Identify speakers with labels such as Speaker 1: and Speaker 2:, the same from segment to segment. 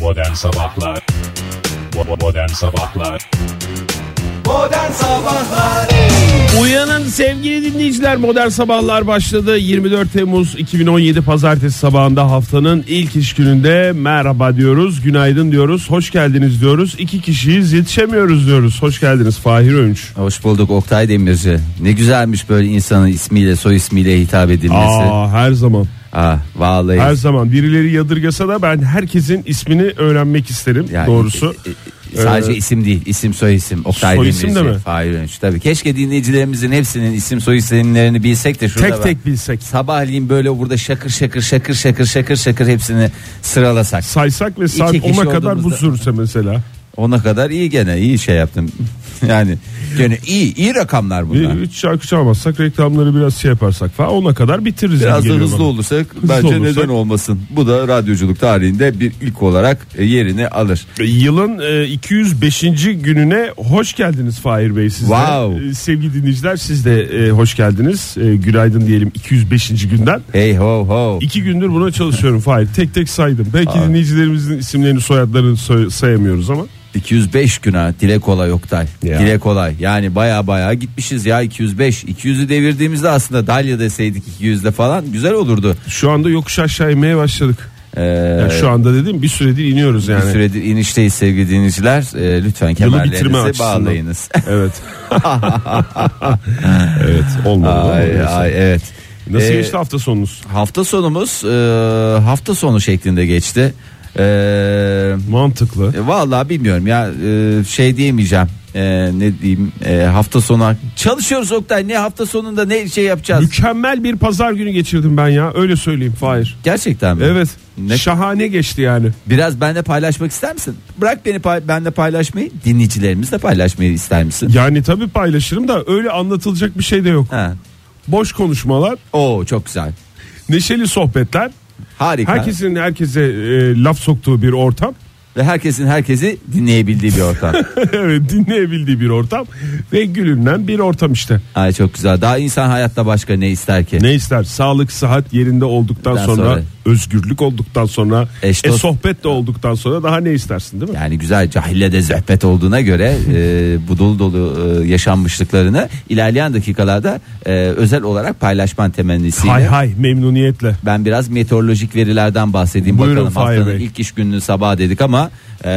Speaker 1: Modern Sabahlar Bo- Modern Sabahlar
Speaker 2: Modern Sabahlar
Speaker 3: Uyanın sevgili dinleyiciler modern sabahlar başladı 24 Temmuz 2017 Pazartesi sabahında haftanın ilk iş gününde merhaba diyoruz günaydın diyoruz hoş geldiniz diyoruz iki kişiyiz yetişemiyoruz diyoruz hoş geldiniz Fahir Önç
Speaker 4: Hoş bulduk Oktay Demirci. Ne güzelmiş böyle insanın ismiyle soy ismiyle hitap edilmesi. Aa,
Speaker 3: Aa, her zaman
Speaker 4: vallahi.
Speaker 3: her zaman birileri yadırgasa da ben herkesin ismini öğrenmek isterim
Speaker 4: Yani,
Speaker 3: doğrusu
Speaker 4: e, e, e, sadece
Speaker 3: Ee,
Speaker 4: isim değil, isim soy isim. Oktay
Speaker 3: Soy
Speaker 4: Demirci.
Speaker 3: isim de mi?
Speaker 4: Fahir Önç tabii. Keşke dinleyicilerimizin hepsinin isim soy isimlerini bilsek de şurada
Speaker 3: tek
Speaker 4: bak.
Speaker 3: tek bilsek
Speaker 4: Sabahleyin böyle burada şakır şakır şakır şakır şakır şakır hepsini sıralasak.
Speaker 3: saysak ve saat
Speaker 4: kişi
Speaker 3: 10'a kadar bu
Speaker 4: olduğumuzda-
Speaker 3: sürse mesela
Speaker 4: Ona kadar iyi gene iyi şey yaptım. yani gene iyi iyi rakamlar
Speaker 3: bir
Speaker 4: bunlar.
Speaker 3: üç şarkı çalmazsak reklamları biraz şey yaparsak falan ona kadar bitiririz gibi
Speaker 4: Biraz da
Speaker 3: geliyor
Speaker 4: hızlı
Speaker 3: bana.
Speaker 4: olursak
Speaker 3: Hızlı
Speaker 4: bence
Speaker 3: olursak.
Speaker 4: neden olmasın. Bu da radyoculuk tarihinde bir ilk olarak e, yerini alır.
Speaker 3: Yılın e, 205. gününe hoş geldiniz Fahir Bey siz de.
Speaker 4: Wow.
Speaker 3: E, Sevgili dinleyiciler siz de e, hoş geldiniz. E, Günaydın diyelim 205. günden.
Speaker 4: Hey ho ho.
Speaker 3: İki gündür buna çalışıyorum Fahir. Tek tek saydım. Belki
Speaker 4: Aa.
Speaker 3: dinleyicilerimizin isimlerini soyadlarını soy- sayamıyoruz ama.
Speaker 4: 205 güne dile kolay Oktay.
Speaker 3: Ya.
Speaker 4: Dile kolay. Yani baya baya gitmişiz ya 205. 200'ü devirdiğimizde aslında Dalya deseydik 200'le falan güzel olurdu.
Speaker 3: Şu anda yokuş aşağı inmeye başladık.
Speaker 4: Ee,
Speaker 3: Yani şu anda dediğim bir süredir iniyoruz yani.
Speaker 4: Bir süredir inişteyiz sevgili dinleyiciler. Ee, lütfen
Speaker 3: Yılı bitirme
Speaker 4: kemerlerinizi
Speaker 3: açısından.
Speaker 4: bağlayınız.
Speaker 3: Evet. evet olmadı. ama
Speaker 4: ay,
Speaker 3: neyse.
Speaker 4: ay, evet.
Speaker 3: Nasıl
Speaker 4: Ee,
Speaker 3: geçti hafta sonunuz?
Speaker 4: Hafta sonumuz e, hafta sonu şeklinde geçti. Ee, Eee
Speaker 3: Mantıklı.
Speaker 4: E, Vallahi bilmiyorum ya e, şey diyemeyeceğim. E, ne diyeyim e, hafta sonu çalışıyoruz Oktay ne hafta sonunda ne şey yapacağız
Speaker 3: Mükemmel bir pazar günü geçirdim ben ya. Öyle söyleyeyim Fahir.
Speaker 4: gerçekten mi?
Speaker 3: Evet.
Speaker 4: Ne-
Speaker 3: Şahane geçti yani.
Speaker 4: Biraz benle paylaşmak ister misin? Bırak beni pay- benle paylaşmayı dinleyicilerimizle paylaşmayı ister misin?
Speaker 3: Yani tabii paylaşırım da öyle anlatılacak bir şey de yok.
Speaker 4: Ha.
Speaker 3: Boş konuşmalar,
Speaker 4: Oo çok güzel
Speaker 3: neşeli sohbetler,
Speaker 4: harika
Speaker 3: herkesin herkese e, laf soktuğu bir ortam.
Speaker 4: ve herkesin herkesi dinleyebildiği bir ortam.
Speaker 3: evet, dinleyebildiği bir ortam ve gülünen bir ortam işte.
Speaker 4: Ay çok güzel daha insan hayatta başka ne ister ki?
Speaker 3: Ne ister? Sağlık, sıhhat yerinde olduktan
Speaker 4: Ondan
Speaker 3: sonra,
Speaker 4: sonra-
Speaker 3: özgürlük olduktan sonra,
Speaker 4: Eş
Speaker 3: e,
Speaker 4: dost-
Speaker 3: sohbet de olduktan sonra daha ne istersin değil mi?
Speaker 4: Yani güzel cahille de zöhbet olduğuna göre e, bu dolu dolu e, yaşanmışlıklarını ilerleyen dakikalarda e, özel olarak paylaşman temennisiyle.
Speaker 3: Hay hay memnuniyetle.
Speaker 4: Ben biraz meteorolojik verilerden bahsedeyim
Speaker 3: Buyurun
Speaker 4: bakalım.
Speaker 3: Fahir
Speaker 4: Haftanın
Speaker 3: Bey.
Speaker 4: ilk iş gününü sabah dedik ama e,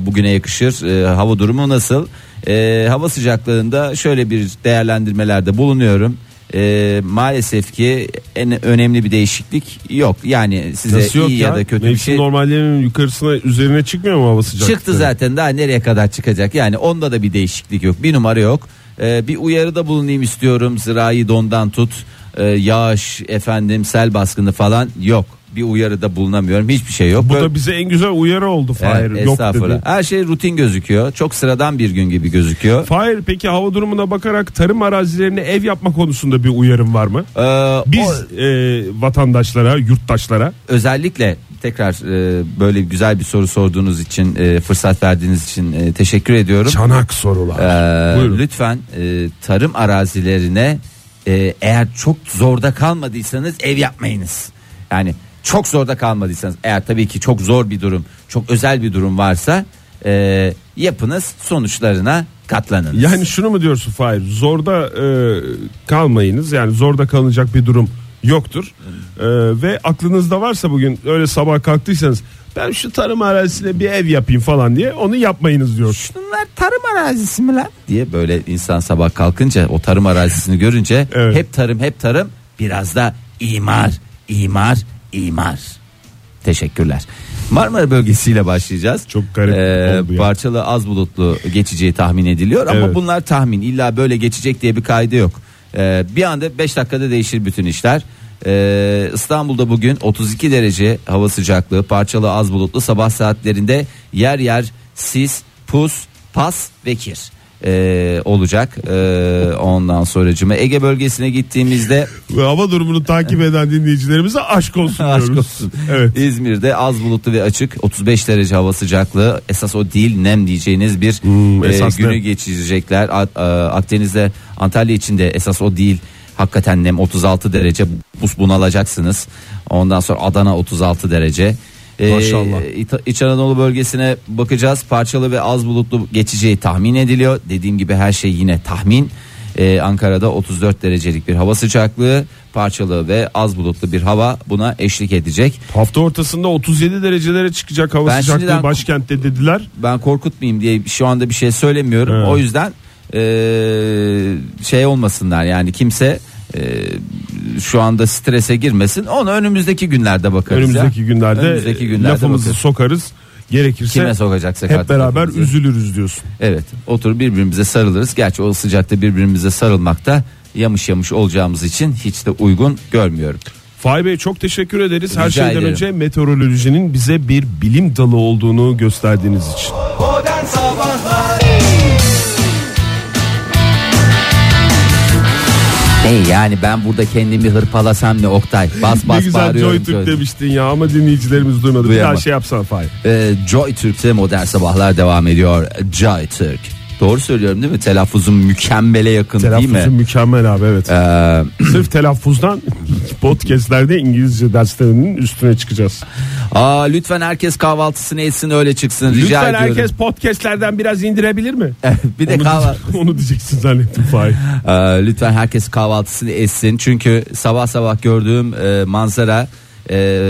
Speaker 4: bugüne yakışır. E, hava durumu nasıl? E, hava sıcaklığında şöyle bir değerlendirmelerde bulunuyorum. E, maalesef ki en önemli bir değişiklik yok. Yani size
Speaker 3: Nasıl yok
Speaker 4: iyi ya, da kötü bir
Speaker 3: Mevsim
Speaker 4: şey
Speaker 3: normallerinin yukarısına üzerine çıkmıyor mu hava sıcaklığı?
Speaker 4: Çıktı zaten daha nereye kadar çıkacak yani onda da bir değişiklik yok bir numara yok Ee, bir uyarıda bulunayım istiyorum zirayı dondan tut Ee, yağış efendim sel baskını falan yok bir uyarıda bulunamıyorum hiçbir şey yok
Speaker 3: Bu
Speaker 4: Böyle-
Speaker 3: da bize en güzel uyarı oldu Fahir.
Speaker 4: Evet,
Speaker 3: yok
Speaker 4: estağfurullah.
Speaker 3: dedi.
Speaker 4: her şey rutin gözüküyor çok sıradan bir gün gibi gözüküyor
Speaker 3: Fahir peki hava durumuna bakarak tarım arazilerine ev yapma konusunda bir uyarım var mı?
Speaker 4: Ee,
Speaker 3: Biz
Speaker 4: o-
Speaker 3: e, vatandaşlara, yurttaşlara
Speaker 4: özellikle tekrar e, böyle güzel bir soru sorduğunuz için e, fırsat verdiğiniz için e, teşekkür ediyorum
Speaker 3: çanak sorular.
Speaker 4: Ee,
Speaker 3: Buyurun.
Speaker 4: lütfen e, tarım arazilerine e, eğer çok zorda kalmadıysanız ev yapmayınız. Yani çok zorda kalmadıysanız eğer tabii ki çok zor bir durum, çok özel bir durum varsa e, yapınız sonuçlarına katlanınız.
Speaker 3: Yani şunu mu diyorsun Fahir? Zorda e, kalmayınız. Yani zorda kalınacak bir durum yoktur. E, ve aklınızda varsa bugün öyle sabah kalktıysanız ben şu tarım arazisine bir ev yapayım falan diye onu yapmayınız diyor.
Speaker 4: Şunlar tarım arazisi mi lan? Diye böyle insan sabah kalkınca o tarım arazisini görünce
Speaker 3: Evet.
Speaker 4: hep tarım hep tarım biraz da imar imar imar. Teşekkürler. Marmara bölgesiyle başlayacağız. Ee,
Speaker 3: Çok garip oldu ya.
Speaker 4: Parçalı az bulutlu geçeceği tahmin ediliyor ama
Speaker 3: Evet.
Speaker 4: bunlar tahmin illa böyle geçecek diye bir kaydı yok. Ee, bir anda 5 dakikada değişir bütün işler. Ee, İstanbul'da bugün 32 derece hava sıcaklığı parçalı az bulutlu sabah saatlerinde yer yer sis, pus, pas ve kir ee, olacak. Ee, ondan sonracığıma Ege bölgesine gittiğimizde
Speaker 3: Ve hava durumunu takip eden dinleyicilerimize aşk olsun diyoruz.
Speaker 4: Aşk olsun.
Speaker 3: Evet.
Speaker 4: İzmir'de az bulutlu ve açık 35 derece hava sıcaklığı esas o değil nem diyeceğiniz bir e,
Speaker 3: Hmm, esas
Speaker 4: günü
Speaker 3: nem.
Speaker 4: geçirecekler. A- a- Akdeniz'de Antalya içinde esas o değil hakikaten nem 36 derece bus bunalacaksınız. Ondan sonra Adana 36 derece. Ee,
Speaker 3: Maşallah.
Speaker 4: İta- İç Anadolu bölgesine bakacağız. Parçalı ve az bulutlu geçeceği tahmin ediliyor. Dediğim gibi her şey yine tahmin. Ee, Ankara'da 34 derecelik bir hava sıcaklığı, parçalı ve az bulutlu bir hava buna eşlik edecek.
Speaker 3: Hafta ortasında 37 derecelere çıkacak hava
Speaker 4: Ben
Speaker 3: sıcaklığı
Speaker 4: şimdiden-
Speaker 3: başkentte dediler.
Speaker 4: Ben korkutmayayım diye şu anda bir şey söylemiyorum.
Speaker 3: Evet.
Speaker 4: O yüzden ee, şey olmasınlar yani kimse ee, şu anda strese girmesin. Onu önümüzdeki günlerde bakarız. ya.
Speaker 3: Önümüzdeki günlerde,
Speaker 4: Önümüzdeki günlerde
Speaker 3: lafımızı
Speaker 4: bakarız.
Speaker 3: sokarız. Gerekirse
Speaker 4: Kime sokacaksak
Speaker 3: hep
Speaker 4: artık
Speaker 3: beraber
Speaker 4: lafımızı.
Speaker 3: üzülürüz diyorsun.
Speaker 4: Evet otur birbirimize sarılırız. Gerçi o sıcakta birbirimize sarılmak da yamış yamış olacağımız için hiç de uygun görmüyorum.
Speaker 3: Fahri Bey çok teşekkür ederiz. Her
Speaker 4: Rica
Speaker 3: şeyden
Speaker 4: ederim.
Speaker 3: önce meteorolojinin bize bir bilim dalı olduğunu gösterdiğiniz için.
Speaker 2: Modern Sabahlar
Speaker 4: Hey yani ben burada kendimi hırpalasam ne Oktay? Bas
Speaker 3: ne
Speaker 4: bas
Speaker 3: güzel Joy
Speaker 4: bağırıyorum.
Speaker 3: Türk demiştin ya ama dinleyicilerimiz duymadı. Bir
Speaker 4: Duyamadı.
Speaker 3: daha şey yapsana Fahri.
Speaker 4: Ee, Joy Türk'te modern sabahlar devam ediyor. Joy Türk. Doğru söylüyorum değil mi? Telaffuzum mükemmele yakın değil
Speaker 3: Telaffuzu
Speaker 4: mi?
Speaker 3: mükemmel abi evet.
Speaker 4: Ee,
Speaker 3: Sırf telaffuzdan podcastlerde İngilizce derslerinin üstüne çıkacağız.
Speaker 4: aa, lütfen herkes kahvaltısını etsin öyle çıksın. Rica
Speaker 3: Lütfen
Speaker 4: ediyorum.
Speaker 3: herkes podcastlerden biraz indirebilir mi?
Speaker 4: bir de
Speaker 3: onu,
Speaker 4: kahvaltı.
Speaker 3: onu diyeceksin zannettim Fahri.
Speaker 4: Ee, lütfen herkes kahvaltısını etsin. Çünkü sabah sabah gördüğüm e, manzara e,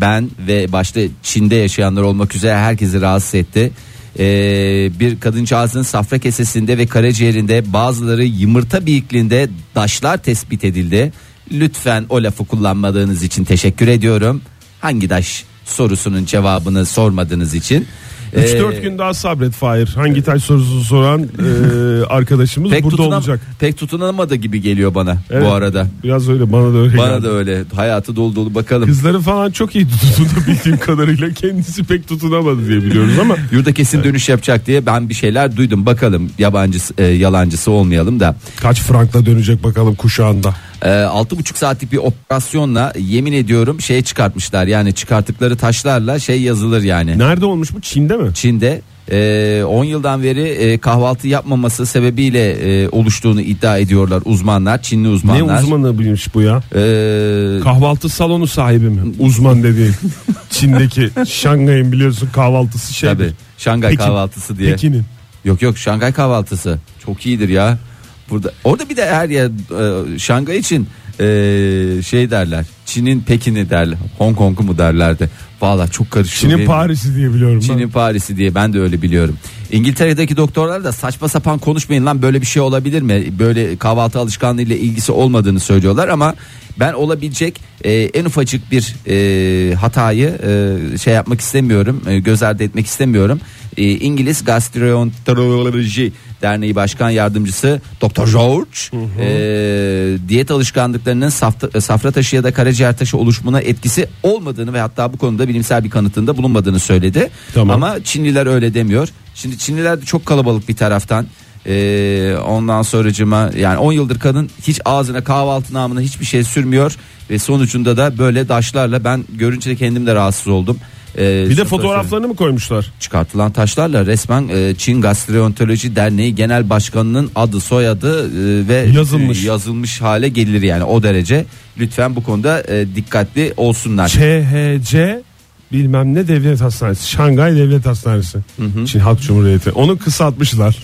Speaker 4: ben ve başta Çin'de yaşayanlar olmak üzere herkesi rahatsız etti. E, bir kadıncağızın safra kesesinde ve karaciğerinde bazıları yumurta büyüklüğünde daşlar tespit edildi. Lütfen o lafı kullanmadığınız için teşekkür ediyorum. Hangi daş sorusunun cevabını sormadığınız için.
Speaker 3: 3-4
Speaker 4: Ee,
Speaker 3: gün daha sabret Fahir. Hangi taş sorusu soran e, arkadaşımız
Speaker 4: pek,
Speaker 3: burada
Speaker 4: tutunam-
Speaker 3: olacak.
Speaker 4: pek tutunamadı gibi geliyor bana
Speaker 3: Evet.
Speaker 4: bu arada.
Speaker 3: Biraz öyle bana da öyle
Speaker 4: Bana
Speaker 3: geldi.
Speaker 4: da öyle hayatı dolu dolu bakalım.
Speaker 3: Kızları falan çok iyi tutundu bildiğim kadarıyla. Kendisi pek tutunamadı diye biliyoruz ama
Speaker 4: Yurda kesin dönüş yapacak diye ben bir şeyler duydum. Bakalım yabancısı e, yalancısı olmayalım da.
Speaker 3: kaç frankla dönecek bakalım kuşağında.
Speaker 4: E, altı buçuk saatlik bir operasyonla yemin ediyorum şey çıkartmışlar. Yani çıkarttıkları taşlarla şey yazılır yani.
Speaker 3: Nerede olmuş bu? Çin'de mi?
Speaker 4: Çin'de e, 10 yıldan beri e, kahvaltı yapmaması sebebiyle e, oluştuğunu iddia ediyorlar uzmanlar. Çinli
Speaker 3: Ne
Speaker 4: uzmanlar.
Speaker 3: uzmanı bilmiş bu ya?
Speaker 4: E,
Speaker 3: Kahvaltı salonu sahibi mi? Uzman dediğin. Çin'deki Şangay'ın biliyorsun kahvaltısı şey.
Speaker 4: tabii. Şangay
Speaker 3: Pekin.
Speaker 4: kahvaltısı diye.
Speaker 3: Pekin'in.
Speaker 4: Yok yok Şangay kahvaltısı çok iyidir ya. Burada orada bir de her yer e, Şangay için e, şey derler. Çin'in Pekin'i derler. Hong Kong'u mu derlerdi. Valla çok karışıyor.
Speaker 3: Çin'in
Speaker 4: değil mi?
Speaker 3: Paris'i diye biliyorum ben.
Speaker 4: Çin'in Paris'i diye ben de öyle biliyorum. İngiltere'deki doktorlar da saçma sapan konuşmayın lan böyle bir şey olabilir mi? Böyle kahvaltı alışkanlığıyla ilgisi olmadığını söylüyorlar ama ben olabilecek e, en ufacık bir e, hatayı e, şey yapmak istemiyorum. e, göz ardı etmek istemiyorum. E, İngiliz Gastroenteroloji Derneği Başkan Yardımcısı Dr. George e, diyet alışkanlıklarının safta- e, safra taşı ya da karaciğer taşı oluşumuna etkisi olmadığını ve hatta bu konuda bilimsel bir kanıtında bulunmadığını söyledi.
Speaker 3: Tamam.
Speaker 4: Ama Çinliler öyle demiyor. Şimdi Çinliler de çok kalabalık bir taraftan. E, ondan sonracıma yani 10 yıldır kadın hiç ağzına kahvaltı namına hiçbir şey sürmüyor ve sonucunda da böyle daşlarla ben görünce de kendim de rahatsız oldum. E,
Speaker 3: Bir de
Speaker 4: sırf-
Speaker 3: fotoğraflarını mı koymuşlar?
Speaker 4: çıkartılan taşlarla resmen e, Çin Gastroenteroloji Derneği Genel Başkanı'nın adı soyadı e, ve
Speaker 3: Yazılmış.
Speaker 4: e, yazılmış hale gelir yani o derece. Lütfen bu konuda e, dikkatli olsunlar.
Speaker 3: Şey- CHC bilmem ne devlet hastanesi. Şangay Devlet Hastanesi. Çin Halk Cumhuriyeti. Onu kısaltmışlar.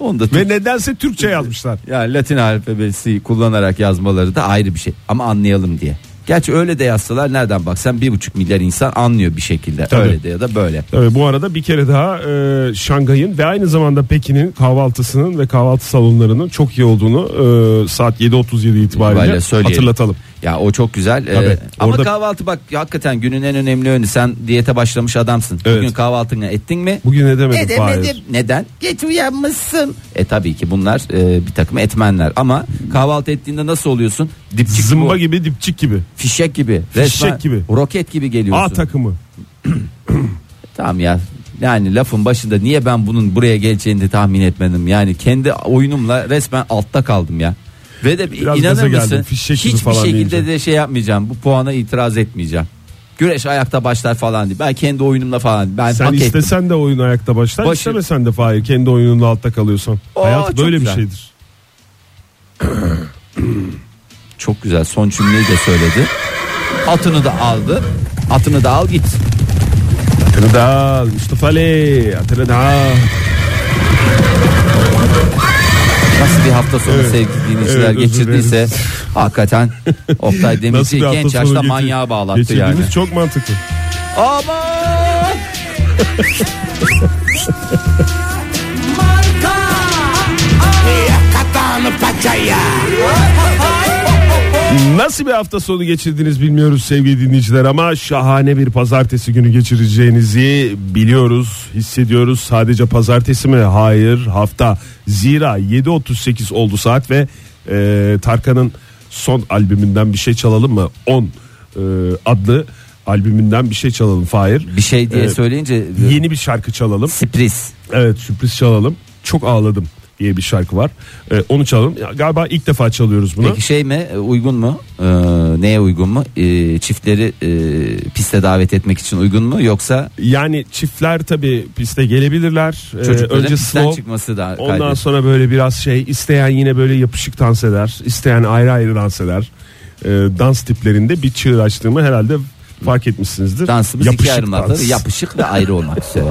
Speaker 4: Onu da
Speaker 3: Ve nedense Türkçe yazmışlar.
Speaker 4: yani Latin alfabesi kullanarak yazmaları da ayrı bir şey ama anlayalım diye. Gerçi öyle de yazsalar nereden baksan bir buçuk milyar insan anlıyor bir şekilde
Speaker 3: Tabii.
Speaker 4: öyle de ya da böyle.
Speaker 3: Evet, bu arada bir kere daha e, Şangay'ın ve aynı zamanda Pekin'in kahvaltısının ve kahvaltı salonlarının çok iyi olduğunu e, saat 7.37 itibariyle
Speaker 4: İtibariyle söyleyelim.
Speaker 3: hatırlatalım.
Speaker 4: Ya o çok güzel. Ee,
Speaker 3: Tabii,
Speaker 4: ama
Speaker 3: orada-
Speaker 4: kahvaltı bak hakikaten günün en önemli önü. Sen diyete başlamış adamsın.
Speaker 3: Evet.
Speaker 4: Bugün kahvaltını ettin mi?
Speaker 3: Bugün edemedim. Fahir.
Speaker 4: Edemedim. Neden? Geç uyanmışsın. E tabii ki bunlar e, bir takım etmenler ama kahvaltı ettiğinde nasıl oluyorsun? Dipçik
Speaker 3: Zımba
Speaker 4: gibi,
Speaker 3: gibi dipçik gibi.
Speaker 4: fişek gibi,
Speaker 3: Fişek gibi.
Speaker 4: roket gibi
Speaker 3: A
Speaker 4: geliyorsun.
Speaker 3: takımı.
Speaker 4: tamam ya. Yani lafın başında niye ben bunun buraya geleceğini de tahmin etmedim. Yani kendi oyunumla resmen altta kaldım ya. Ve de
Speaker 3: Biraz gaza
Speaker 4: inanır
Speaker 3: geldim,
Speaker 4: mısın?
Speaker 3: fişek gibi
Speaker 4: Hiçbir
Speaker 3: falan
Speaker 4: şekilde
Speaker 3: deyince.
Speaker 4: de şey yapmayacağım. Bu puana itiraz etmeyeceğim. Güreş ayakta başlar falan diye. Ben kendi oyunumla falan. Ben
Speaker 3: Sen
Speaker 4: hak ettim.
Speaker 3: istesen de oyun ayakta başlar.
Speaker 4: Başı-
Speaker 3: istemesen de Fahir kendi oyununda altta kalıyorsan.
Speaker 4: Aa,
Speaker 3: Hayat
Speaker 4: çok
Speaker 3: böyle
Speaker 4: güzel.
Speaker 3: bir şeydir.
Speaker 4: Çok güzel son cümleyi de söyledi. Atını da aldı. Atını da al git.
Speaker 3: Atını da al Mustafa Ali atını da al.
Speaker 4: Nasıl bir hafta sonu
Speaker 3: Evet.
Speaker 4: sevgili dinleyiciler
Speaker 3: Evet, özür
Speaker 4: geçirdiyse
Speaker 3: dileriz.
Speaker 4: hakikaten Oktay Demirci genç yaşta
Speaker 3: geçir-
Speaker 4: manyağa bağlattı
Speaker 3: geçirdiğimiz
Speaker 4: yani.
Speaker 3: çok mantıklı.
Speaker 4: Aman!
Speaker 3: Nasıl bir hafta sonu geçirdiniz bilmiyoruz sevgili dinleyiciler ama şahane bir pazartesi günü geçireceğinizi biliyoruz, hissediyoruz. Sadece pazartesi mi? Hayır, hafta. Zira 7.38 oldu saat ve e, Tarkan'ın son albümünden bir şey çalalım mı? 10 e, adlı albümünden bir şey çalalım Fahir.
Speaker 4: Bir şey diye
Speaker 3: Ee,
Speaker 4: söyleyince
Speaker 3: Yeni bir şarkı çalalım.
Speaker 4: sürpriz.
Speaker 3: Evet sürpriz çalalım. Çok ağladım diye bir şarkı var. E, onu çalalım. Ya, Galiba ilk defa çalıyoruz bunu.
Speaker 4: Peki şey mi e, uygun mu? Ee, neye uygun mu? Ee, çiftleri e, piste davet etmek için uygun mu? Yoksa
Speaker 3: Yani çiftler tabii piste gelebilirler. Ee,
Speaker 4: çocukların
Speaker 3: önce
Speaker 4: pistten
Speaker 3: slow.
Speaker 4: çıkması da
Speaker 3: Ondan
Speaker 4: kaygı.
Speaker 3: sonra böyle biraz şey isteyen yine böyle yapışık dans eder. isteyen ayrı ayrı dans eder. Ee, dans tiplerinde bir çığır açtığımı herhalde fark etmişsinizdir.
Speaker 4: Dansımız
Speaker 3: yapışık
Speaker 4: iki ayrılmakla
Speaker 3: dans.
Speaker 4: yapışık ve ayrı olmak üzere.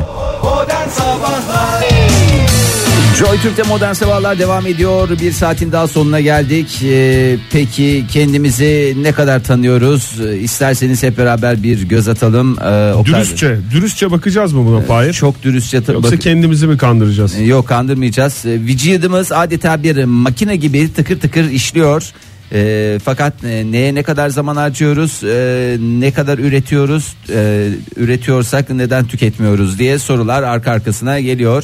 Speaker 2: Modern Sabahlar
Speaker 4: Joy Türk'te modern sabahlar devam ediyor. Bir saatin daha sonuna geldik. Ee, peki kendimizi ne kadar tanıyoruz? Ee, İsterseniz hep beraber bir göz atalım. Ee, Oktay-
Speaker 3: Dürüstçe, dürüstçe bakacağız mı buna Fahir?
Speaker 4: Çok dürüstçe. ta-
Speaker 3: Yoksa
Speaker 4: Ee, bak- Ee,
Speaker 3: kendimizi mi kandıracağız?
Speaker 4: Yok kandırmayacağız. Ee, Vücudumuz adeta bir makine gibi tıkır tıkır işliyor. Ee, fakat e, neye ne kadar zaman harcıyoruz, Ee, ne kadar üretiyoruz, Ee, üretiyorsak neden tüketmiyoruz diye sorular arka arkasına geliyor.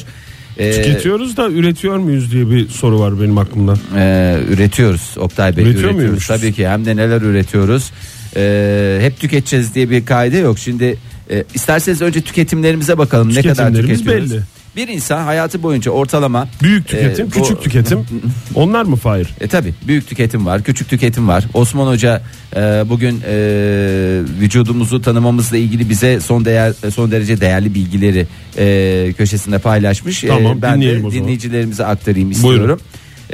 Speaker 4: Ee,
Speaker 3: Tüketiyoruz da üretiyor muyuz diye bir soru var benim aklımda.
Speaker 4: Ee, üretiyoruz Oktay Bey.
Speaker 3: Üretiyor
Speaker 4: üretiyoruz.
Speaker 3: muyuz?
Speaker 4: Tabii ki hem de neler üretiyoruz. Ee, hep tüketeceğiz diye bir kaide yok. Şimdi e, isterseniz önce tüketimlerimize bakalım ne kadar
Speaker 3: Tüketimlerimiz
Speaker 4: tüketiyoruz.
Speaker 3: belli.
Speaker 4: Bir insan hayatı boyunca ortalama
Speaker 3: Büyük tüketim,
Speaker 4: e, bu-
Speaker 3: küçük tüketim. Onlar mı Fahir?
Speaker 4: E tabi büyük tüketim var küçük tüketim var Osman Hoca e, bugün e, vücudumuzu tanımamızla ilgili bize son değer e, son derece değerli bilgileri e, köşesinde paylaşmış E,
Speaker 3: Tamam,
Speaker 4: ben de
Speaker 3: dinleyelim o zaman.
Speaker 4: dinleyicilerimize aktarayım istiyorum.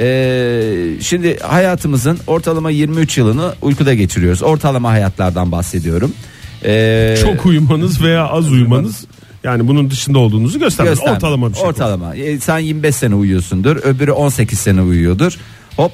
Speaker 4: E, şimdi hayatımızın ortalama 23 yılını uykuda geçiriyoruz ortalama hayatlardan bahsediyorum. E,
Speaker 3: Çok uyumanız veya az uyumanız yani bunun dışında olduğunuzu göstermez.
Speaker 4: Gösterme.
Speaker 3: Ortalama bir şey.
Speaker 4: Ortalama. E, sen 25 sene uyuyorsundur öbürü 18 sene uyuyordur hop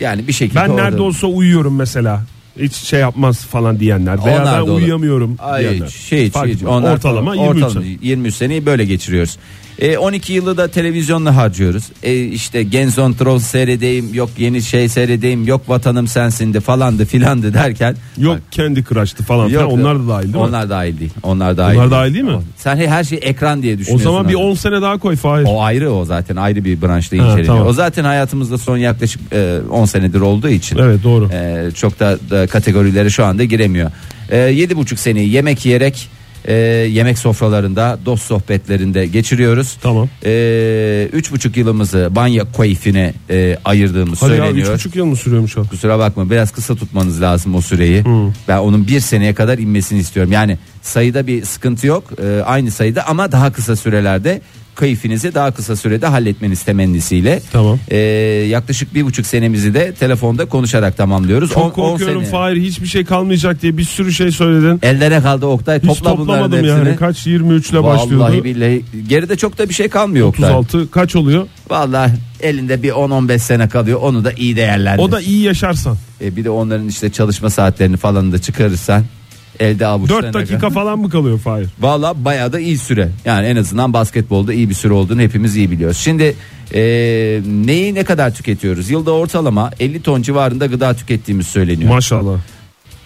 Speaker 4: yani bir şekilde
Speaker 3: Ben nerede
Speaker 4: orada-
Speaker 3: olsa uyuyorum mesela. Hiç şey yapmaz falan diyenler. Veya
Speaker 4: Onlar da
Speaker 3: ben
Speaker 4: olur.
Speaker 3: uyuyamıyorum
Speaker 4: Ay,
Speaker 3: diyenler.
Speaker 4: şey,
Speaker 3: Fark
Speaker 4: şey,
Speaker 3: etmez.
Speaker 4: onlar-
Speaker 3: ortalama 23
Speaker 4: ortalama 23 seneyi böyle geçiriyoruz. E, 12 yılı da televizyonla harcıyoruz. E, işte Genzon Troll seyredeyim yok yeni şey seyredeyim yok vatanım sensindi falandı filandı derken.
Speaker 3: Yok kendi kıraştı falan. filan.
Speaker 4: Yok,
Speaker 3: onlar da dahil değil mi?
Speaker 4: Onlar dahil değil. Onlar şey dahil.
Speaker 3: Onlar dahil değil mi?
Speaker 4: Sen he- her şeyi ekran diye
Speaker 3: o
Speaker 4: düşünüyorsun.
Speaker 3: zaman bir
Speaker 4: abi.
Speaker 3: 10 sene daha koy Fahir.
Speaker 4: O ayrı o zaten ayrı bir branşta inceleniyor.
Speaker 3: tamam.
Speaker 4: O zaten hayatımızda son yaklaşık e, 10 senedir olduğu için.
Speaker 3: Evet, doğru.
Speaker 4: e, çok da, da kategorilere şu anda giremiyor. E, Yedi buçuk seneyi yemek yiyerek e, yemek sofralarında dost sohbetlerinde geçiriyoruz.
Speaker 3: Tamam.
Speaker 4: E, Üç buçuk yılımızı banya keyfine e, ayırdığımız
Speaker 3: Hadi ya
Speaker 4: söyleniyor.
Speaker 3: 3,5 yıl mı sürüyormuş o?
Speaker 4: Kusura bakma biraz kısa tutmanız lazım o süreyi. Ben onun bir seneye kadar inmesini istiyorum. Yani sayıda bir sıkıntı yok. Ee, aynı sayıda ama daha kısa sürelerde keyfinizi daha kısa sürede halletmeniz temennisiyle.
Speaker 3: Tamam.
Speaker 4: Ee, yaklaşık bir buçuk senemizi de telefonda konuşarak tamamlıyoruz.
Speaker 3: Çok korkuyorum
Speaker 4: sene.
Speaker 3: Fahir hiçbir şey kalmayacak diye bir sürü şey söyledin.
Speaker 4: Ellere kaldı Oktay.
Speaker 3: Hiç
Speaker 4: Topla bunların
Speaker 3: toplamadım
Speaker 4: hepsini.
Speaker 3: yani. Kaç 23 ile
Speaker 4: Vallahi
Speaker 3: başlıyordu?
Speaker 4: billahi geride çok da bir şey kalmıyor Oktay.
Speaker 3: 36 kaç oluyor?
Speaker 4: Vallahi elinde bir 10-15 sene kalıyor. Onu da iyi değerlendir.
Speaker 3: O da iyi yaşarsan.
Speaker 4: E bir de onların işte çalışma saatlerini falan da çıkarırsan elde avuçlarına.
Speaker 3: 4 dakika falan mı kalıyor Fahir?
Speaker 4: Valla bayağı da iyi süre. Yani en azından basketbolda iyi bir süre olduğunu hepimiz iyi biliyoruz. Şimdi e, neyi ne kadar tüketiyoruz? Yılda ortalama 50 ton civarında gıda tükettiğimiz söyleniyor.
Speaker 3: Maşallah.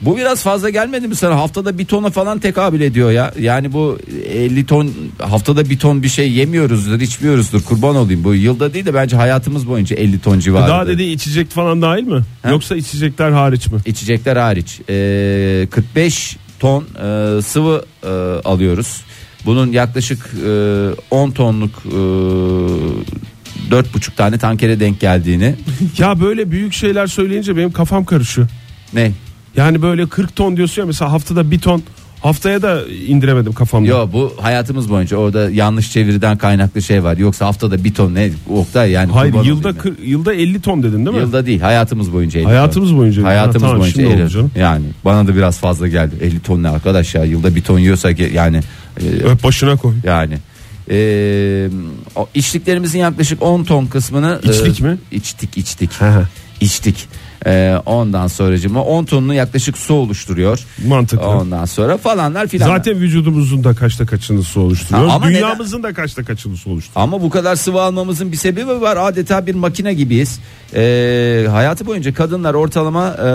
Speaker 4: bu biraz fazla gelmedi mi sana? Haftada bir tona falan tekabül ediyor ya. Yani bu 50 ton haftada bir ton bir şey yemiyoruzdur, içmiyoruzdur. Kurban olayım bu yılda değil de bence hayatımız boyunca 50 ton civarında.
Speaker 3: Daha dedi içecek falan dahil mi?
Speaker 4: Ha?
Speaker 3: Yoksa içecekler hariç mi?
Speaker 4: içecekler hariç e, 45 ton e, sıvı e, alıyoruz. Bunun yaklaşık e, 10 tonluk e, 4,5 tane tankere denk geldiğini
Speaker 3: Ya böyle büyük şeyler söyleyince benim kafam karışıyor.
Speaker 4: ne?
Speaker 3: Yani böyle 40 ton diyorsun ya mesela haftada bir ton Haftaya da indiremedim kafamda.
Speaker 4: Yo bu hayatımız boyunca orada yanlış çeviriden kaynaklı şey var. Yoksa haftada bir ton ne Oktay yani.
Speaker 3: Hayır
Speaker 4: kurban
Speaker 3: yılda
Speaker 4: olayım ben.
Speaker 3: kır- yılda 50 ton dedin değil mi?
Speaker 4: Yılda değil hayatımız boyunca 50 ton.
Speaker 3: Hayatımız boyunca.
Speaker 4: Hayatımız
Speaker 3: Ha, tamam,
Speaker 4: boyunca
Speaker 3: şimdi oldu
Speaker 4: 50
Speaker 3: canım.
Speaker 4: Yani bana da biraz fazla geldi. 50 ton ne arkadaş ya yılda bir ton yiyorsa ge- yani e,
Speaker 3: Öp başına koy.
Speaker 4: yani. E, o içliklerimizin yaklaşık 10 ton kısmını e,
Speaker 3: İçlik mi?
Speaker 4: İçtik içtik. içtik. E, ondan sonracığıma 10 tonunu yaklaşık su oluşturuyor.
Speaker 3: Mantıklı.
Speaker 4: Ondan sonra falanlar filanlar.
Speaker 3: Zaten vücudumuzun da kaçta kaçını su oluşturuyor.
Speaker 4: Ha, ama
Speaker 3: Dünyamızın da kaçta kaçını su oluşturuyor.
Speaker 4: Ama bu kadar sıvı almamızın bir sebebi var. Adeta bir makine gibiyiz. Ee, hayatı boyunca kadınlar ortalama e,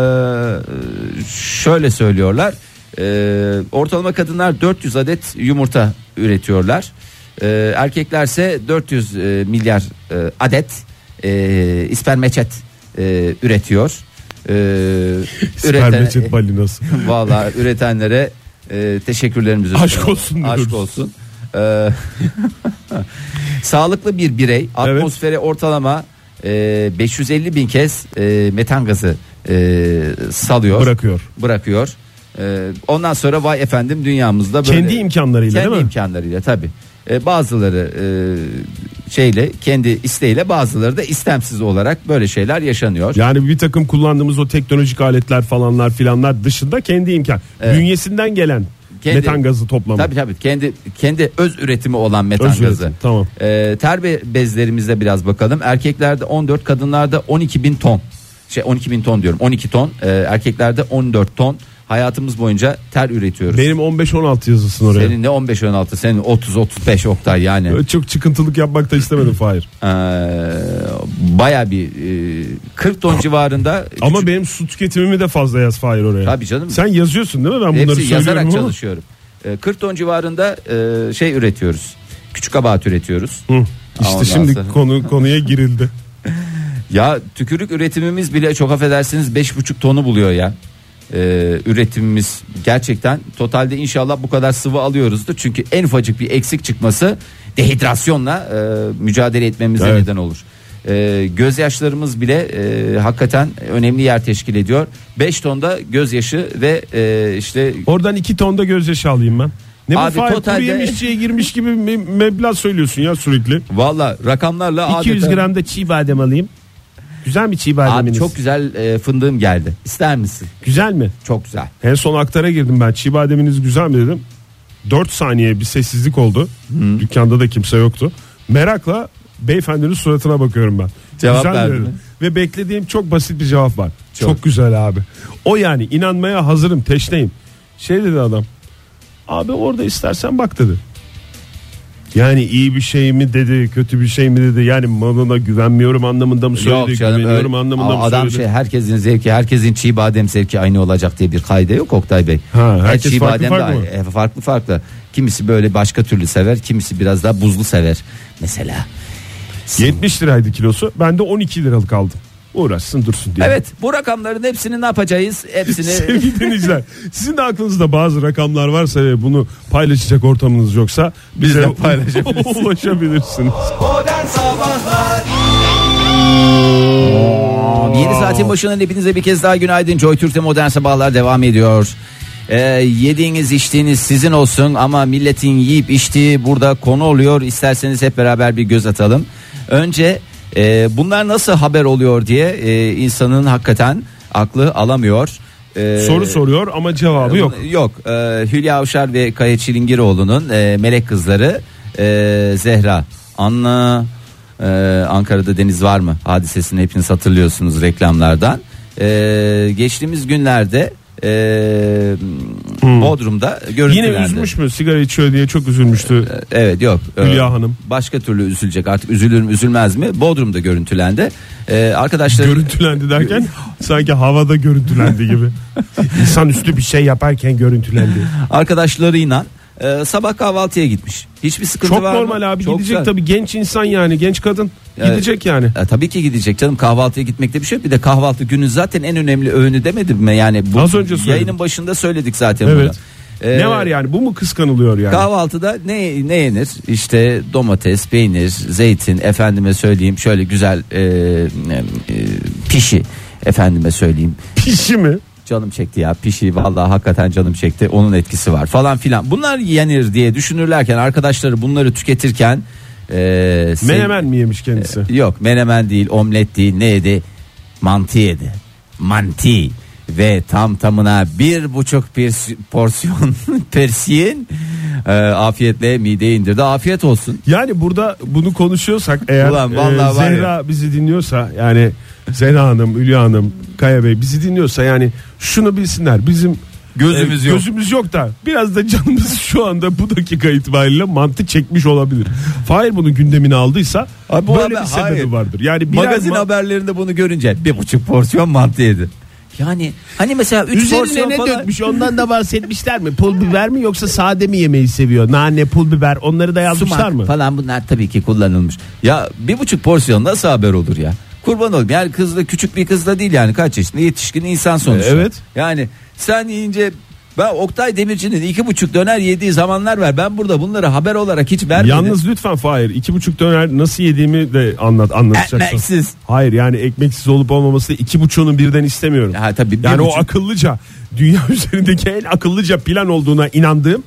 Speaker 4: şöyle söylüyorlar. Ee, ortalama kadınlar 400 adet yumurta üretiyorlar. Ee, erkeklerse 400 e, milyar e, adet e, ispermeçet e, üretiyor. Ee,
Speaker 3: Spermecet balinası.
Speaker 4: Valla üretenlere e, teşekkürlerimizi
Speaker 3: Aşk
Speaker 4: sunuyorum.
Speaker 3: olsun diyoruz.
Speaker 4: Aşk olsun. Ee, sağlıklı bir birey atmosfere ortalama e, 550 bin kez e, metan gazı e, salıyor.
Speaker 3: Bırakıyor.
Speaker 4: Bırakıyor. E, ondan sonra vay efendim dünyamızda böyle.
Speaker 3: Kendi imkanlarıyla
Speaker 4: Kendi
Speaker 3: değil mi?
Speaker 4: imkanlarıyla tabii. E, bazıları e, şeyle kendi isteğiyle bazıları da istemsiz olarak böyle şeyler yaşanıyor.
Speaker 3: Yani bir takım kullandığımız o teknolojik aletler falanlar filanlar dışında kendi imkan.
Speaker 4: Evet.
Speaker 3: Bünyesinden gelen
Speaker 4: Kendi-
Speaker 3: metan gazı toplamı.
Speaker 4: Tabii tabii kendi kendi öz üretimi olan metan
Speaker 3: Öz üretim,
Speaker 4: gazı.
Speaker 3: tamam.
Speaker 4: Ee, ter be- bezlerimize biraz bakalım. Erkeklerde 14, kadınlarda 12 bin ton. Şey 12 bin ton diyorum. 12 ton. Ee, erkeklerde 14 ton. Hayatımız boyunca ter üretiyoruz.
Speaker 3: Benim 15-16 yazısın oraya.
Speaker 4: Senin ne 15-16 senin 30-35 Oktay yani.
Speaker 3: Öyle Çok çıkıntılık yapmak da istemedim Fahir.
Speaker 4: Ee, Baya bir e, 40 ton civarında.
Speaker 3: Ama
Speaker 4: küçük-
Speaker 3: benim su tüketimimi de fazla yaz Fahir oraya.
Speaker 4: Tabii canım.
Speaker 3: Sen yazıyorsun değil mi? Ben bunları
Speaker 4: Hepsi
Speaker 3: söylüyorum
Speaker 4: yazarak
Speaker 3: ama-
Speaker 4: çalışıyorum. Ee, 40 ton civarında e, şey üretiyoruz. Küçük kabahat üretiyoruz.
Speaker 3: Hı. İşte
Speaker 4: Ondan
Speaker 3: şimdi
Speaker 4: sonra-
Speaker 3: konu konuya girildi.
Speaker 4: Ya tükürük üretimimiz bile çok affedersiniz 5,5 tonu buluyor ya. Ee, üretimimiz gerçekten totalde inşallah bu kadar sıvı alıyoruzdur. Çünkü en ufacık bir eksik çıkması dehidrasyonla e, mücadele etmemize
Speaker 3: Evet.
Speaker 4: neden olur. Ee, gözyaşlarımız bile e, hakikaten önemli yer teşkil ediyor. 5 tonda gözyaşı ve e, işte
Speaker 3: Oradan iki tonda gözyaşı alayım ben. Ne
Speaker 4: Abi
Speaker 3: bu Fahir
Speaker 4: totalde-
Speaker 3: kuru yemişçiye girmiş gibi me- meblağ söylüyorsun ya sürekli.
Speaker 4: valla rakamlarla
Speaker 3: 200
Speaker 4: adeta-
Speaker 3: gram da çiğ badem alayım. Güzel mi çiğ
Speaker 4: Abi
Speaker 3: bademiniz?
Speaker 4: çok güzel e, fındığım geldi. İster misin?
Speaker 3: Güzel mi?
Speaker 4: Çok güzel.
Speaker 3: En son aktara girdim ben. Çiğ bademiniz güzel mi dedim. 4 saniye bir sessizlik oldu. Dükkanda da kimse yoktu. Merakla beyefendinin suratına bakıyorum ben.
Speaker 4: Cevap
Speaker 3: güzel
Speaker 4: verdi
Speaker 3: dedim.
Speaker 4: mi?
Speaker 3: Ve beklediğim çok basit bir cevap var. Çok.
Speaker 4: Çok.
Speaker 3: güzel abi. O yani inanmaya hazırım, teşneyim. Şey dedi adam. Abi orada istersen bak dedi. Yani iyi bir şey mi dedi, kötü bir şey mi dedi. Yani malına güvenmiyorum anlamında mı söyledi,
Speaker 4: Yok canım
Speaker 3: güveniyorum
Speaker 4: öyle-
Speaker 3: anlamında
Speaker 4: Aa,
Speaker 3: mı
Speaker 4: adam
Speaker 3: söyledi.
Speaker 4: şey herkesin zevki herkesin çiğ badem zevki aynı olacak diye bir kaide yok Oktay Bey.
Speaker 3: Ha,
Speaker 4: Her
Speaker 3: herkes
Speaker 4: çiğ
Speaker 3: farklı
Speaker 4: badem de
Speaker 3: farklı
Speaker 4: aynı.
Speaker 3: mı?
Speaker 4: E, farklı farklı. Kimisi böyle başka türlü sever, kimisi biraz daha buzlu sever mesela.
Speaker 3: 70 liraydı kilosu. Ben de 12 liralık aldım. Uğraşsın dursun diye.
Speaker 4: Evet, bu rakamların hepsini ne yapacağız? Hepsini
Speaker 3: Sevgili dinleyiciler sizin de aklınızda bazı rakamlar varsa ve bunu paylaşacak ortamınız yoksa bize ulaşabilirsiniz.
Speaker 2: Modern Sabahlar
Speaker 4: Yeni saatin başından hepinize bir kez daha günaydın. Joy Türk'te modern sabahlar devam ediyor. Ee, yediğiniz içtiğiniz sizin olsun ama milletin yiyip içtiği burada konu oluyor. İsterseniz hep beraber bir göz atalım. Önce e, bunlar nasıl haber oluyor diye e, insanın hakikaten aklı alamıyor. Ee,
Speaker 3: Soru soruyor ama cevabı yok.
Speaker 4: Yok. Ee, Hülya Avşar ve Kaya Çilingiroğlu'nun e, melek kızları e, Zehra, Anna, e, Ankara'da Deniz Var mı? Hadisesini hepiniz hatırlıyorsunuz reklamlardan. E, geçtiğimiz günlerde e, Bodrum'da görüntülendi.
Speaker 3: Hmm. Yine üzmüş mü? Sigara içiyor diye çok üzülmüştü.
Speaker 4: Evet yok. Ee,
Speaker 3: Hülya Hanım.
Speaker 4: Başka türlü üzülecek artık üzülür mü üzülmez mi? Bodrum'da görüntülendi. E, arkadaşlar
Speaker 3: Görüntülendi derken sanki havada görüntülendi gibi. İnsan üstü bir şey yaparken görüntülendi.
Speaker 4: arkadaşlarıyla e, sabah kahvaltıya gitmiş. Hiçbir sıkıntı
Speaker 3: Çok
Speaker 4: var mı?
Speaker 3: normal abi
Speaker 4: Çok
Speaker 3: gidecek
Speaker 4: güzel.
Speaker 3: tabii genç insan yani genç kadın gidecek yani.
Speaker 4: E, tabii ki gidecek canım kahvaltıya gitmekte bir şey yok. Bir de kahvaltı günün zaten en önemli öğünü demedim mi? Yani bu
Speaker 3: Az önce söyledim.
Speaker 4: yayının başında söyledik zaten
Speaker 3: Evet.
Speaker 4: bunu. E,
Speaker 3: ne var yani bu mu kıskanılıyor yani?
Speaker 4: Kahvaltıda ne ne yenir? İşte domates, peynir, zeytin, efendime söyleyeyim şöyle güzel e, e, e, pişi efendime söyleyeyim.
Speaker 3: Pişi mi?
Speaker 4: Canım çekti ya pişi vallahi hakikaten canım çekti onun etkisi var falan filan. Bunlar yenir diye düşünürlerken arkadaşları bunları tüketirken e, sev-
Speaker 3: Menemen mi yemiş kendisi?
Speaker 4: Yok menemen değil omlet değil ne yedi? Mantı yedi. Manti ve tam tamına bir buçuk bir porsiyon persiyin e, afiyetle mideye indirdi. Afiyet olsun.
Speaker 3: Yani burada bunu konuşuyorsak eğer
Speaker 4: Ulan vallahi
Speaker 3: e,
Speaker 4: var ya.
Speaker 3: Zehra bizi dinliyorsa yani Zehra Hanım, Hülya Hanım, Kaya Bey bizi dinliyorsa yani şunu bilsinler bizim e,
Speaker 4: Gözümüz yok.
Speaker 3: Gözümüz yok da biraz da canımız şu anda bu dakika itibariyle mantı çekmiş olabilir. Fahir bunun gündemini aldıysa
Speaker 4: Abi bu
Speaker 3: böyle
Speaker 4: haber-
Speaker 3: bir sebebi
Speaker 4: hayır.
Speaker 3: vardır. Yani birer
Speaker 4: Magazin
Speaker 3: ma-
Speaker 4: haberlerinde bunu görünce bir buçuk porsiyon mantı yedi. Yani hani mesela 3 porsiyon
Speaker 3: Üzerine ne
Speaker 4: falan.
Speaker 3: dökmüş ondan da bahsetmişler mi? Pul biber mi yoksa sade mi yemeyi seviyor? Nane, pul biber onları da yazmışlar
Speaker 4: Sumak
Speaker 3: mı?
Speaker 4: falan bunlar tabii ki kullanılmış. Ya bir buçuk porsiyon nasıl haber olur ya? Kurban olayım yani kız da küçük bir kız da değil yani kaç yaşında yetişkin insan sonuçta.
Speaker 3: E, Evet.
Speaker 4: Yani sen yiyince ben Oktay Demirci'nin iki buçuk döner yediği zamanlar var. Ben burada bunları haber olarak hiç vermedim.
Speaker 3: Yalnız lütfen Fahir iki buçuk döner nasıl yediğimi de anlat anlatacaksın.
Speaker 4: Ekmeksiz.
Speaker 3: Hayır yani ekmeksiz olup olmaması iki buçuğunu birden istemiyorum.
Speaker 4: Ha, tabii bir
Speaker 3: yani
Speaker 4: buçuk-
Speaker 3: o akıllıca dünya üzerindeki en akıllıca plan olduğuna inandığım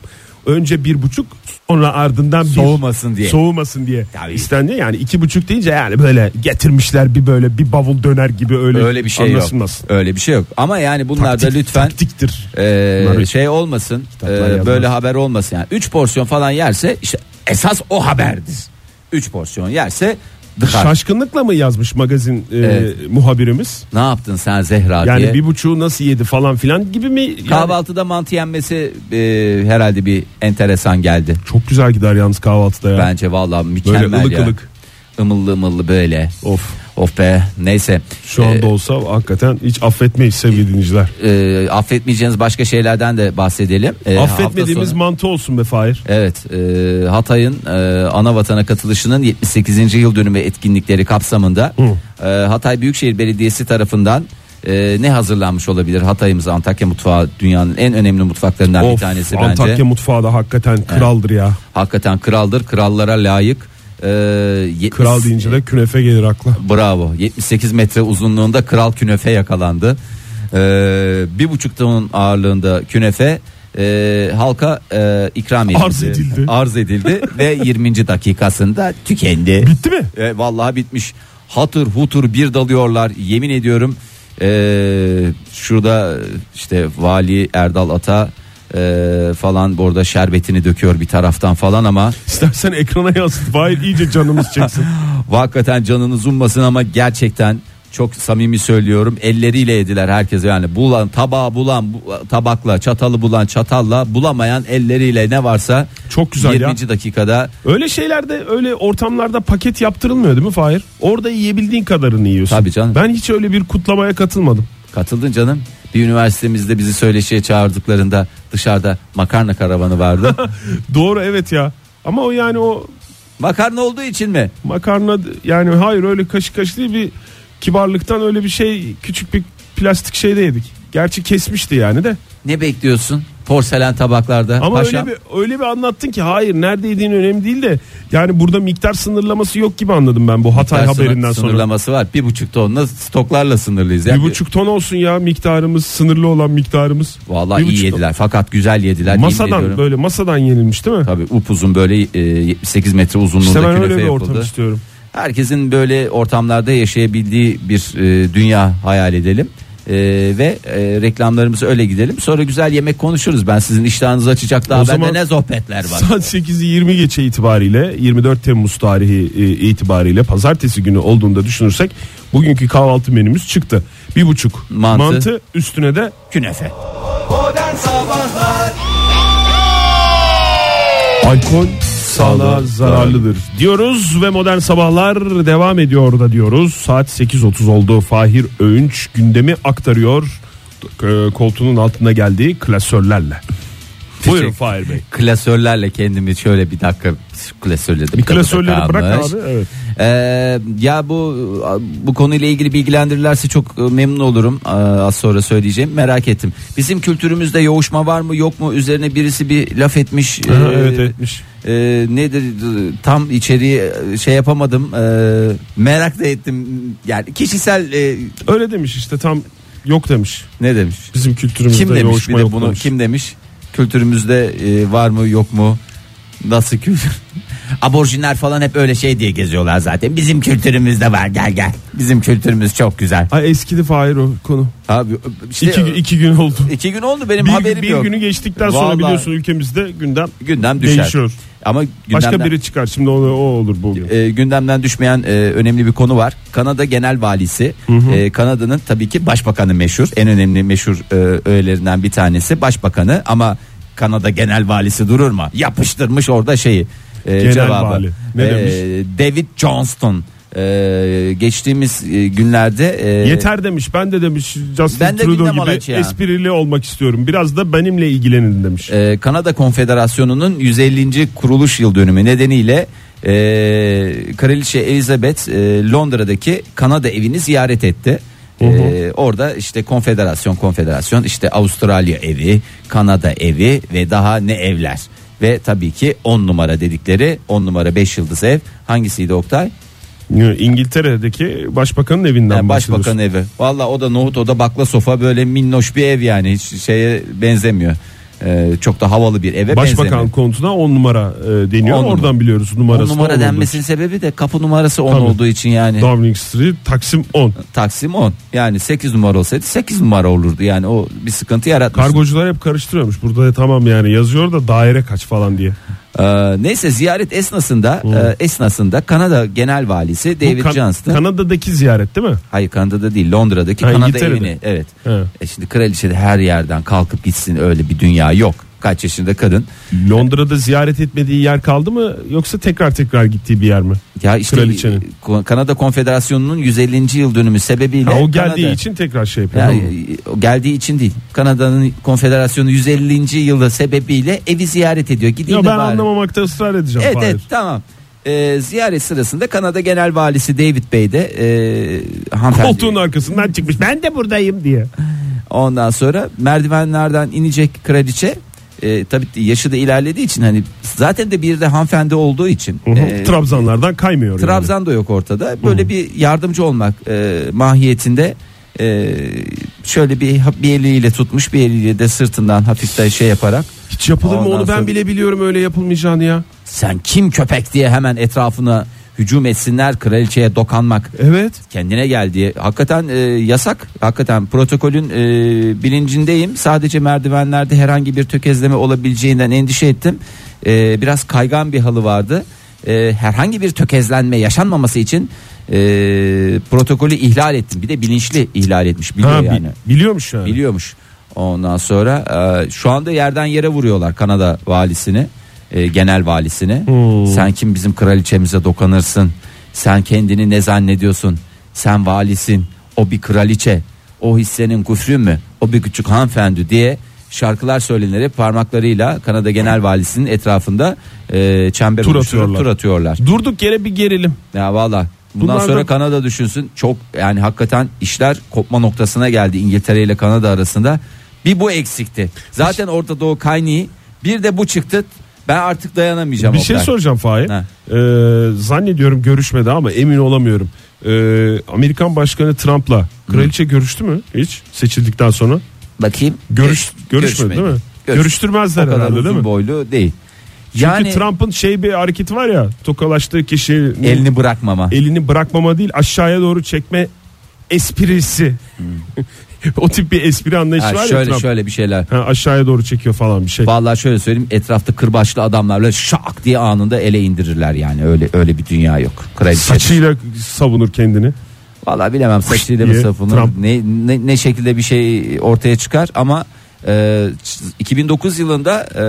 Speaker 3: önce bir buçuk sonra ardından bir
Speaker 4: Soğumasın diye.
Speaker 3: soğumasın diye
Speaker 4: Tabii.
Speaker 3: istendi yani iki buçuk deyince yani böyle getirmişler bir böyle bir bavul döner gibi öyle,
Speaker 4: öyle bir şey yok.
Speaker 3: anlaşılmasın.
Speaker 4: Öyle bir şey yok. Ama yani bunlar
Speaker 3: Taktik-
Speaker 4: da lütfen
Speaker 3: taktiktir.
Speaker 4: Ee,
Speaker 3: Bunlar hiç-
Speaker 4: şey olmasın
Speaker 3: Kitaplar
Speaker 4: ee,
Speaker 3: yazmaz.
Speaker 4: böyle haber olmasın yani 3 porsiyon falan yerse işte esas o haberdir 3 porsiyon yerse dıkar.
Speaker 3: Şaşkınlıkla mı yazmış magazin e,
Speaker 4: Evet.
Speaker 3: muhabirimiz?
Speaker 4: ne yaptın sen Zehra
Speaker 3: Yani
Speaker 4: diye
Speaker 3: bir buçuğu nasıl yedi falan filan gibi mi? Yani-
Speaker 4: kahvaltıda mantı yenmesi e, herhalde bir enteresan geldi
Speaker 3: Çok güzel gider yalnız kahvaltıda ya.
Speaker 4: bence vallahi
Speaker 3: Böyle
Speaker 4: mükemmel
Speaker 3: ılık
Speaker 4: ya.
Speaker 3: ılık.
Speaker 4: Imıllı ımıllı böyle
Speaker 3: Of.
Speaker 4: of be neyse
Speaker 3: Şu
Speaker 4: Ee,
Speaker 3: anda olsa hakikaten hiç affetmeyiz sevgili dinleyiciler.
Speaker 4: e, affetmeyeceğiniz başka şeylerden de bahsedelim Ee, hafta
Speaker 3: Affetmediğimiz
Speaker 4: sonu-
Speaker 3: mantı olsun be Fahir.
Speaker 4: Evet, e, Hatay'ın e, ana vatana katılışının 78. yıl dönümü etkinlikleri kapsamında e, Hatay Büyükşehir Belediyesi tarafından e, ne hazırlanmış olabilir? Hatay'ımız Antakya mutfağı dünyanın en önemli mutfaklarından bir
Speaker 3: Of,
Speaker 4: tanesi bence.
Speaker 3: Antakya mutfağı da hakikaten kraldır ya.
Speaker 4: Hakikaten kraldır, krallara layık. E, yetmiş-
Speaker 3: Kral deyince de künefe gelir akla.
Speaker 4: Bravo. 78 metre uzunluğunda kral künefe yakalandı. Ee, bir buçuk ton ağırlığında künefe e, halka e, ikram edildi.
Speaker 3: Arz edildi.
Speaker 4: Arz edildi ve 20. dakikasında tükendi.
Speaker 3: Bitti mi?
Speaker 4: E, vallahi bitmiş. Hatır hutur bir dalıyorlar. Yemin ediyorum. E, şurada işte vali Erdal Ata e, falan burada şerbetini döküyor bir taraftan falan ama
Speaker 3: İstersen ekrana yansıt. Fahir iyice canımız çeksin.
Speaker 4: Hakikaten canınız ummasın ama gerçekten çok samimi söylüyorum elleriyle yediler herkese yani bulan tabağı bulan bu- tabakla çatalı bulan çatalla bulamayan elleriyle ne varsa
Speaker 3: Çok güzel
Speaker 4: 20. dakikada
Speaker 3: öyle şeylerde öyle ortamlarda paket yaptırılmıyor değil mi Fahir? Orada yiyebildiğin kadarını yiyorsun.
Speaker 4: Tabii canım.
Speaker 3: Ben hiç öyle bir kutlamaya katılmadım.
Speaker 4: katıldın canım bir üniversitemizde bizi söyleşiye çağırdıklarında dışarıda makarna karavanı vardı
Speaker 3: Doğru evet ya. Ama o yani o
Speaker 4: makarna olduğu için mi
Speaker 3: makarna yani hayır öyle kaşık kaşık değil bir kibarlıktan öyle bir şey küçük bir plastik şeyde yedik. Gerçi kesmişti yani de.
Speaker 4: ne bekliyorsun porselen tabaklarda
Speaker 3: Ama
Speaker 4: paşam
Speaker 3: öyle bir öyle bir anlattın ki hayır nerede yediğin önemli değil de yani burada miktar sınırlaması yok gibi anladım ben bu Hatay
Speaker 4: Miktar sınır-
Speaker 3: haberinden sonra.
Speaker 4: sınırlaması var bir buçuk tonla stoklarla sınırlıyız
Speaker 3: Bir
Speaker 4: Yani-
Speaker 3: buçuk ton olsun ya miktarımız sınırlı olan miktarımız.
Speaker 4: Vallahi
Speaker 3: Bir
Speaker 4: iyi
Speaker 3: buçuk ton.
Speaker 4: yediler fakat güzel yediler. yemin ediyorum.
Speaker 3: Masadan böyle masadan yenilmiş değil mi?
Speaker 4: Tabii upuzun böyle e, 78 metre uzunluğunda
Speaker 3: İşte ben
Speaker 4: künefe
Speaker 3: öyle bir
Speaker 4: yapıldı.
Speaker 3: ortam istiyorum.
Speaker 4: Herkesin böyle ortamlarda yaşayabildiği bir e, dünya hayal edelim. E, ve e, reklamlarımızı öyle gidelim. Sonra güzel yemek konuşuruz. Ben sizin iştahınızı açacak daha
Speaker 3: O
Speaker 4: bende
Speaker 3: zaman-
Speaker 4: ne sohbetler var.
Speaker 3: Saat 8'i 20 geçe itibariyle 24 Temmuz tarihi e, itibariyle pazartesi günü olduğunda düşünürsek bugünkü kahvaltı menümüz çıktı. Bir buçuk
Speaker 4: Mantı.
Speaker 3: mantı, üstüne de
Speaker 4: Künefe.
Speaker 2: Modern Sabahlar
Speaker 3: alkol sağlığa zararlıdır diyoruz ve modern sabahlar devam ediyor da diyoruz. Saat 8.30 oldu. Fahir Öğünç gündemi aktarıyor. E, Koltuğunun altına geldiği klasörlerle. Buyurun Fahir Bey.
Speaker 4: Klasörlerle kendimi şöyle bir dakika klasörledim.
Speaker 3: Klasörleri bırak
Speaker 4: Kalmış.
Speaker 3: abi. Evet.
Speaker 4: Ee, ya bu bu konuyla ilgili bilgilendirirlerse çok e, memnun olurum. Ee, Az sonra söyleyeceğim. Merak ettim. Bizim kültürümüzde yoğuşma var mı yok mu? Üzerine birisi bir laf etmiş.
Speaker 3: Ha,
Speaker 4: Ee,
Speaker 3: evet etmiş.
Speaker 4: e, nedir e, tam içeriği e, şey yapamadım. Ee, merak da ettim. Yani kişisel e,
Speaker 3: Öyle demiş işte tam yok demiş.
Speaker 4: Ne demiş?
Speaker 3: Bizim kültürümüzde
Speaker 4: Kim demiş bir
Speaker 3: yoğuşma
Speaker 4: de
Speaker 3: yok
Speaker 4: bunu?
Speaker 3: demiş.
Speaker 4: Kim demiş? Kültürümüzde e, var mı yok mu? Nasıl kültür? Aborjinler falan hep öyle şey diye geziyorlar zaten. Bizim kültürümüzde var gel gel. Bizim kültürümüz çok güzel.
Speaker 3: Ha eskidi Fahir o konu.
Speaker 4: Abi işte,
Speaker 3: İki, gü- iki gün oldu.
Speaker 4: iki gün oldu benim
Speaker 3: Bir,
Speaker 4: haberim
Speaker 3: bir
Speaker 4: yok.
Speaker 3: günü geçtikten sonra
Speaker 4: Vallahi.
Speaker 3: biliyorsun ülkemizde gündem
Speaker 4: gündem düşer.
Speaker 3: değişiyor.
Speaker 4: Ama gündemden,
Speaker 3: Başka biri çıkar şimdi o, o olur bugün.
Speaker 4: e, gündemden düşmeyen e, önemli bir konu var. Kanada Genel Valisi e, Kanada'nın tabii ki başbakanı meşhur. En önemli meşhur e, öğelerinden bir tanesi başbakanı ama Kanada Genel Valisi durur mu? Yapıştırmış orada şeyi. e,
Speaker 3: Genel
Speaker 4: cevabı. E,
Speaker 3: vali. Ne demiş?
Speaker 4: David Johnston e, geçtiğimiz e, günlerde e,
Speaker 3: Yeter demiş ben de demiş Justin
Speaker 4: Ben de
Speaker 3: Trudeau
Speaker 4: gündem
Speaker 3: gibi
Speaker 4: alaç ya.
Speaker 3: esprili olmak istiyorum. Biraz da benimle ilgilenin demiş.
Speaker 4: e, Kanada Konfederasyonu'nun 150. kuruluş yıl dönümü nedeniyle e, Kraliçe Elizabeth e, Londra'daki Kanada evini ziyaret etti. E, orada işte konfederasyon konfederasyon işte Avustralya evi, Kanada evi ve daha ne evler. Ve tabii ki 10 numara dedikleri 10 numara 5 yıldız ev hangisiydi Oktay?
Speaker 3: İngiltere'deki başbakanın evinden
Speaker 4: Yani
Speaker 3: bahsediyorsun.
Speaker 4: başbakan evi. Valla o da nohut o da bakla sofa böyle minnoş bir ev yani hiç şeye benzemiyor. E, çok da havalı bir eve benzemiyor.
Speaker 3: Başbakan konutuna 10 numara e, deniyor.
Speaker 4: On
Speaker 3: Oradan
Speaker 4: numara.
Speaker 3: biliyoruz
Speaker 4: On
Speaker 3: numarası.
Speaker 4: numara denmesinin sebebi de kapı numarası 10
Speaker 3: Tabii.
Speaker 4: olduğu için yani.
Speaker 3: Downing Street Taksim 10.
Speaker 4: Taksim 10. Yani 8 numara olsaydı 8 numara olurdu. Yani o bir sıkıntı yaratmış.
Speaker 3: Kargocular hep karıştırıyormuş. Burada da tamam yani yazıyor da daire kaç falan diye.
Speaker 4: Ee, neyse ziyaret esnasında e, esnasında Kanada Genel Valisi
Speaker 3: Bu
Speaker 4: David
Speaker 3: Kan-
Speaker 4: Johnston.
Speaker 3: Kanada'daki ziyaret değil mi?
Speaker 4: Hayır Kanada'da değil Londra'daki
Speaker 3: Ha,
Speaker 4: Kanada
Speaker 3: İngiltere'de.
Speaker 4: evini. Evet.
Speaker 3: He.
Speaker 4: E şimdi kraliçe de her yerden kalkıp gitsin öyle bir dünya yok. Kaç yaşında kadın.
Speaker 3: Londra'da ziyaret etmediği yer kaldı mı yoksa tekrar tekrar gittiği bir yer mi?
Speaker 4: Ya işte
Speaker 3: Kraliçenin.
Speaker 4: Ko- Kanada Konfederasyonu'nun 150. yıl dönümü sebebiyle
Speaker 3: Ha, o
Speaker 4: Kanada-
Speaker 3: geldiği için tekrar şey yapıyor.
Speaker 4: Ya,
Speaker 3: Tamam.
Speaker 4: e, geldiği için değil. Kanada'nın konfederasyonu 150. yılı sebebiyle evi ziyaret ediyor. Gideyim
Speaker 3: Ya
Speaker 4: de
Speaker 3: ben
Speaker 4: bari.
Speaker 3: anlamamakta ısrar edeceğim.
Speaker 4: Evet
Speaker 3: Fahir.
Speaker 4: evet tamam. Ee, ziyaret sırasında Kanada Genel Valisi David Bey de e, hanımefendi.
Speaker 3: Koltuğun arkasından çıkmış. Ben de buradayım diye.
Speaker 4: Ondan sonra merdivenlerden inecek kraliçe. E, tabii yaşı da ilerlediği için hani zaten de bir de hanımefendi olduğu için.
Speaker 3: Hı hı.
Speaker 4: e,
Speaker 3: Trabzanlardan kaymıyor. yani.
Speaker 4: Trabzan da yok ortada. Böyle bir yardımcı olmak e, mahiyetinde e, şöyle bir bir eliyle tutmuş bir eliyle de sırtından hafif de şey yaparak
Speaker 3: Hiç yapılır mı
Speaker 4: Ondan
Speaker 3: onu ben
Speaker 4: sonra-
Speaker 3: bile biliyorum öyle yapılmayacağını ya.
Speaker 4: sen kim köpek diye hemen etrafına hücum etsinler kraliçeye dokanmak
Speaker 3: Evet.
Speaker 4: kendine gel diye hakikaten e, yasak hakikaten protokolün e, bilincindeyim sadece merdivenlerde herhangi bir tökezleme olabileceğinden endişe ettim E, biraz kaygan bir halı vardı E, herhangi bir tökezlenme yaşanmaması için e, protokolü ihlal ettim bir de bilinçli ihlal etmiş biliyor
Speaker 3: Ha, bi-
Speaker 4: yani
Speaker 3: Biliyormuş yani.
Speaker 4: biliyormuş. Ondan sonra e, şu anda yerden yere vuruyorlar Kanada valisini, e, genel valisini.
Speaker 3: Hmm.
Speaker 4: Sen kim bizim kraliçemize dokanırsın? Sen kendini ne zannediyorsun? Sen valisin, o bir kraliçe. O hissenin küfrü mü? O bir küçük hanımefendi diye şarkılar söylenerek parmaklarıyla Kanada Genel Valisi'nin etrafında e, çember
Speaker 3: Tur
Speaker 4: oluşturup
Speaker 3: atıyorlar.
Speaker 4: tur atıyorlar.
Speaker 3: Durduk yere bir gerilim.
Speaker 4: Ya valla. Bundan
Speaker 3: Bunlar
Speaker 4: sonra
Speaker 3: da-
Speaker 4: Kanada düşünsün. Çok yani hakikaten işler kopma noktasına geldi İngiltere ile Kanada arasında. Bir bu eksikti. Zaten Orta Doğu kaynağı bir de bu çıktı. Ben artık dayanamayacağım.
Speaker 3: Bir şey
Speaker 4: Oktay.
Speaker 3: soracağım Fahir.
Speaker 4: Ha.
Speaker 3: Ee, zannediyorum görüşmedi ama emin olamıyorum. Ee, Amerikan Başkanı Trump'la kraliçe görüştü mü hiç seçildikten sonra?
Speaker 4: Bakayım.
Speaker 3: Görüş, görüşmedi, değil mi?
Speaker 4: Görüş-
Speaker 3: Görüştürmezler
Speaker 4: o kadar
Speaker 3: herhalde değil
Speaker 4: uzun
Speaker 3: mi?
Speaker 4: boylu değil.
Speaker 3: Çünkü Trump'ın şey bir hareketi var ya tokalaştığı kişi elini,
Speaker 4: elini bırakmama.
Speaker 3: elini bırakmama değil aşağıya doğru çekme esprisi. o tip bir espri anlayışı
Speaker 4: Hmm. Ha,
Speaker 3: var ya
Speaker 4: şöyle
Speaker 3: Trump.
Speaker 4: şöyle bir şeyler.
Speaker 3: Ha, aşağıya doğru çekiyor falan bir şey.
Speaker 4: Vallahi şöyle söyleyeyim etrafta kırbaçlı adamlarla şak diye anında ele indirirler yani öyle öyle bir dünya yok. Kraliçe
Speaker 3: Saçıyla savunur kendini.
Speaker 4: Vallahi bilemem saçıyla mı
Speaker 3: diye
Speaker 4: sapını
Speaker 3: Trump.
Speaker 4: ne, ne, ne şekilde bir şey ortaya çıkar ama e, ç- 2009 yılında e,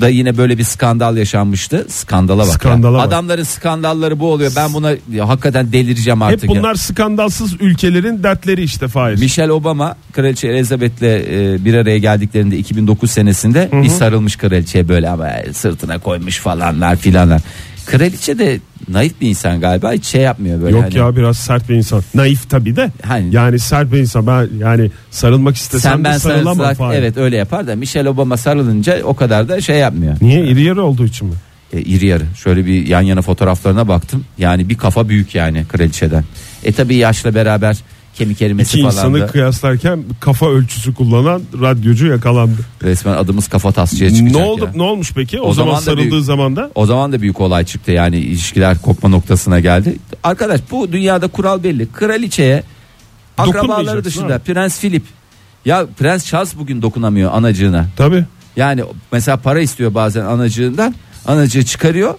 Speaker 4: da yine böyle bir skandal yaşanmıştı. Skandala bak. ya.
Speaker 3: Skandala bak.
Speaker 4: Adamların skandalları bu oluyor. Ben buna ya, hakikaten delireceğim artık.
Speaker 3: Hep
Speaker 4: ya.
Speaker 3: bunlar skandalsız ülkelerin dertleri işte Fahir.
Speaker 4: Michelle Obama Kraliçe Elizabeth'le e, bir araya geldiklerinde 2009 senesinde bir sarılmış kraliçeye böyle ama sırtına koymuş falanlar filanlar. Kraliçe de naif bir insan galiba hiç şey yapmıyor böyle.
Speaker 3: Yok
Speaker 4: hani-
Speaker 3: ya biraz sert bir insan. Naif tabii de.
Speaker 4: Hani-
Speaker 3: Yani sert bir insan. Ben yani sarılmak istesem
Speaker 4: Sen ben
Speaker 3: de sarılamam
Speaker 4: sarılsak
Speaker 3: falan.
Speaker 4: evet öyle yapar da Michelle Obama sarılınca o kadar da şey yapmıyor.
Speaker 3: Niye iri yarı olduğu için mi?
Speaker 4: E, iri yarı şöyle bir yan yana fotoğraflarına baktım yani bir kafa büyük yani kraliçeden. E tabi yaşla beraber kemik erimesi
Speaker 3: İki
Speaker 4: falan
Speaker 3: insanı
Speaker 4: da.
Speaker 3: kıyaslarken kafa ölçüsü kullanan radyocu yakalandı.
Speaker 4: Resmen adımız kafa tasçıya çıkacak
Speaker 3: Ne oldu
Speaker 4: ya.
Speaker 3: ne olmuş peki? O,
Speaker 4: O
Speaker 3: zaman,
Speaker 4: zaman da
Speaker 3: sarıldığı
Speaker 4: büyük-
Speaker 3: zaman da
Speaker 4: O zaman da büyük olay çıktı yani ilişkiler kopma noktasına geldi. Arkadaş bu dünyada kural belli. Kraliçeye akrabaları
Speaker 3: Dokunmayacaksın,
Speaker 4: dışında
Speaker 3: değil
Speaker 4: Prens Philip. Ya Prens Charles bugün dokunamıyor anacığına.
Speaker 3: tabii
Speaker 4: Yani mesela para istiyor bazen anacığından. Anacığı çıkarıyor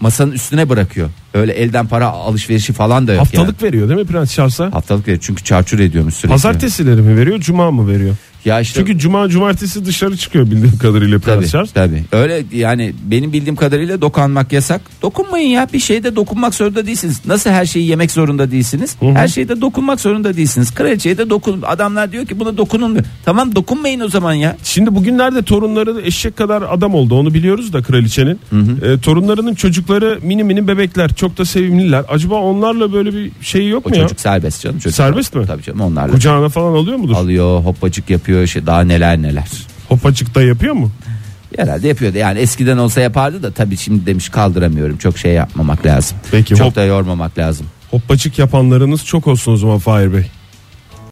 Speaker 4: masanın üstüne bırakıyor. Öyle elden para alışverişi falan da yok yani.
Speaker 3: haftalık veriyor değil mi Prens Charles'a?
Speaker 4: Haftalık veriyor çünkü çarçur ediyormuş sürekli.
Speaker 3: Pazartesileri mi veriyor, cuma mı veriyor?
Speaker 4: Ya işte
Speaker 3: Çünkü cuma cumartesi dışarı çıkıyor bildiğim kadarıyla Prens
Speaker 4: Tabii,
Speaker 3: Charles.
Speaker 4: tabii. Öyle yani benim bildiğim kadarıyla dokunmak yasak. Dokunmayın ya bir şeyde dokunmak zorunda değilsiniz. Nasıl her şeyi yemek zorunda değilsiniz?
Speaker 3: hı.
Speaker 4: Her şeyde dokunmak zorunda değilsiniz. Kraliçeye de dokun. Adamlar diyor ki buna dokunulmuyor. Tamam dokunmayın o zaman ya.
Speaker 3: Şimdi bugünlerde torunları eşek kadar adam oldu onu biliyoruz da kraliçenin. E, torunlarının çocukları mini mini bebekler çok da sevimliler. Acaba onlarla böyle bir şey yok
Speaker 4: O
Speaker 3: mu
Speaker 4: çocuk serbest canım. Çocuk.
Speaker 3: Serbest mi?
Speaker 4: Tabii canım onlar
Speaker 3: ya?
Speaker 4: da
Speaker 3: Kucağına falan alıyor mudur?
Speaker 4: alıyor hoppacık yapıyor şey daha neler neler.
Speaker 3: Hopacık da yapıyor mu?
Speaker 4: Herhalde yapıyordu yani eskiden olsa yapardı da tabii şimdi demiş kaldıramıyorum çok şey yapmamak lazım.
Speaker 3: Peki,
Speaker 4: çok
Speaker 3: hop-
Speaker 4: da yormamak lazım.
Speaker 3: Hoppacık yapanlarınız çok olsun o zaman Fahir Bey.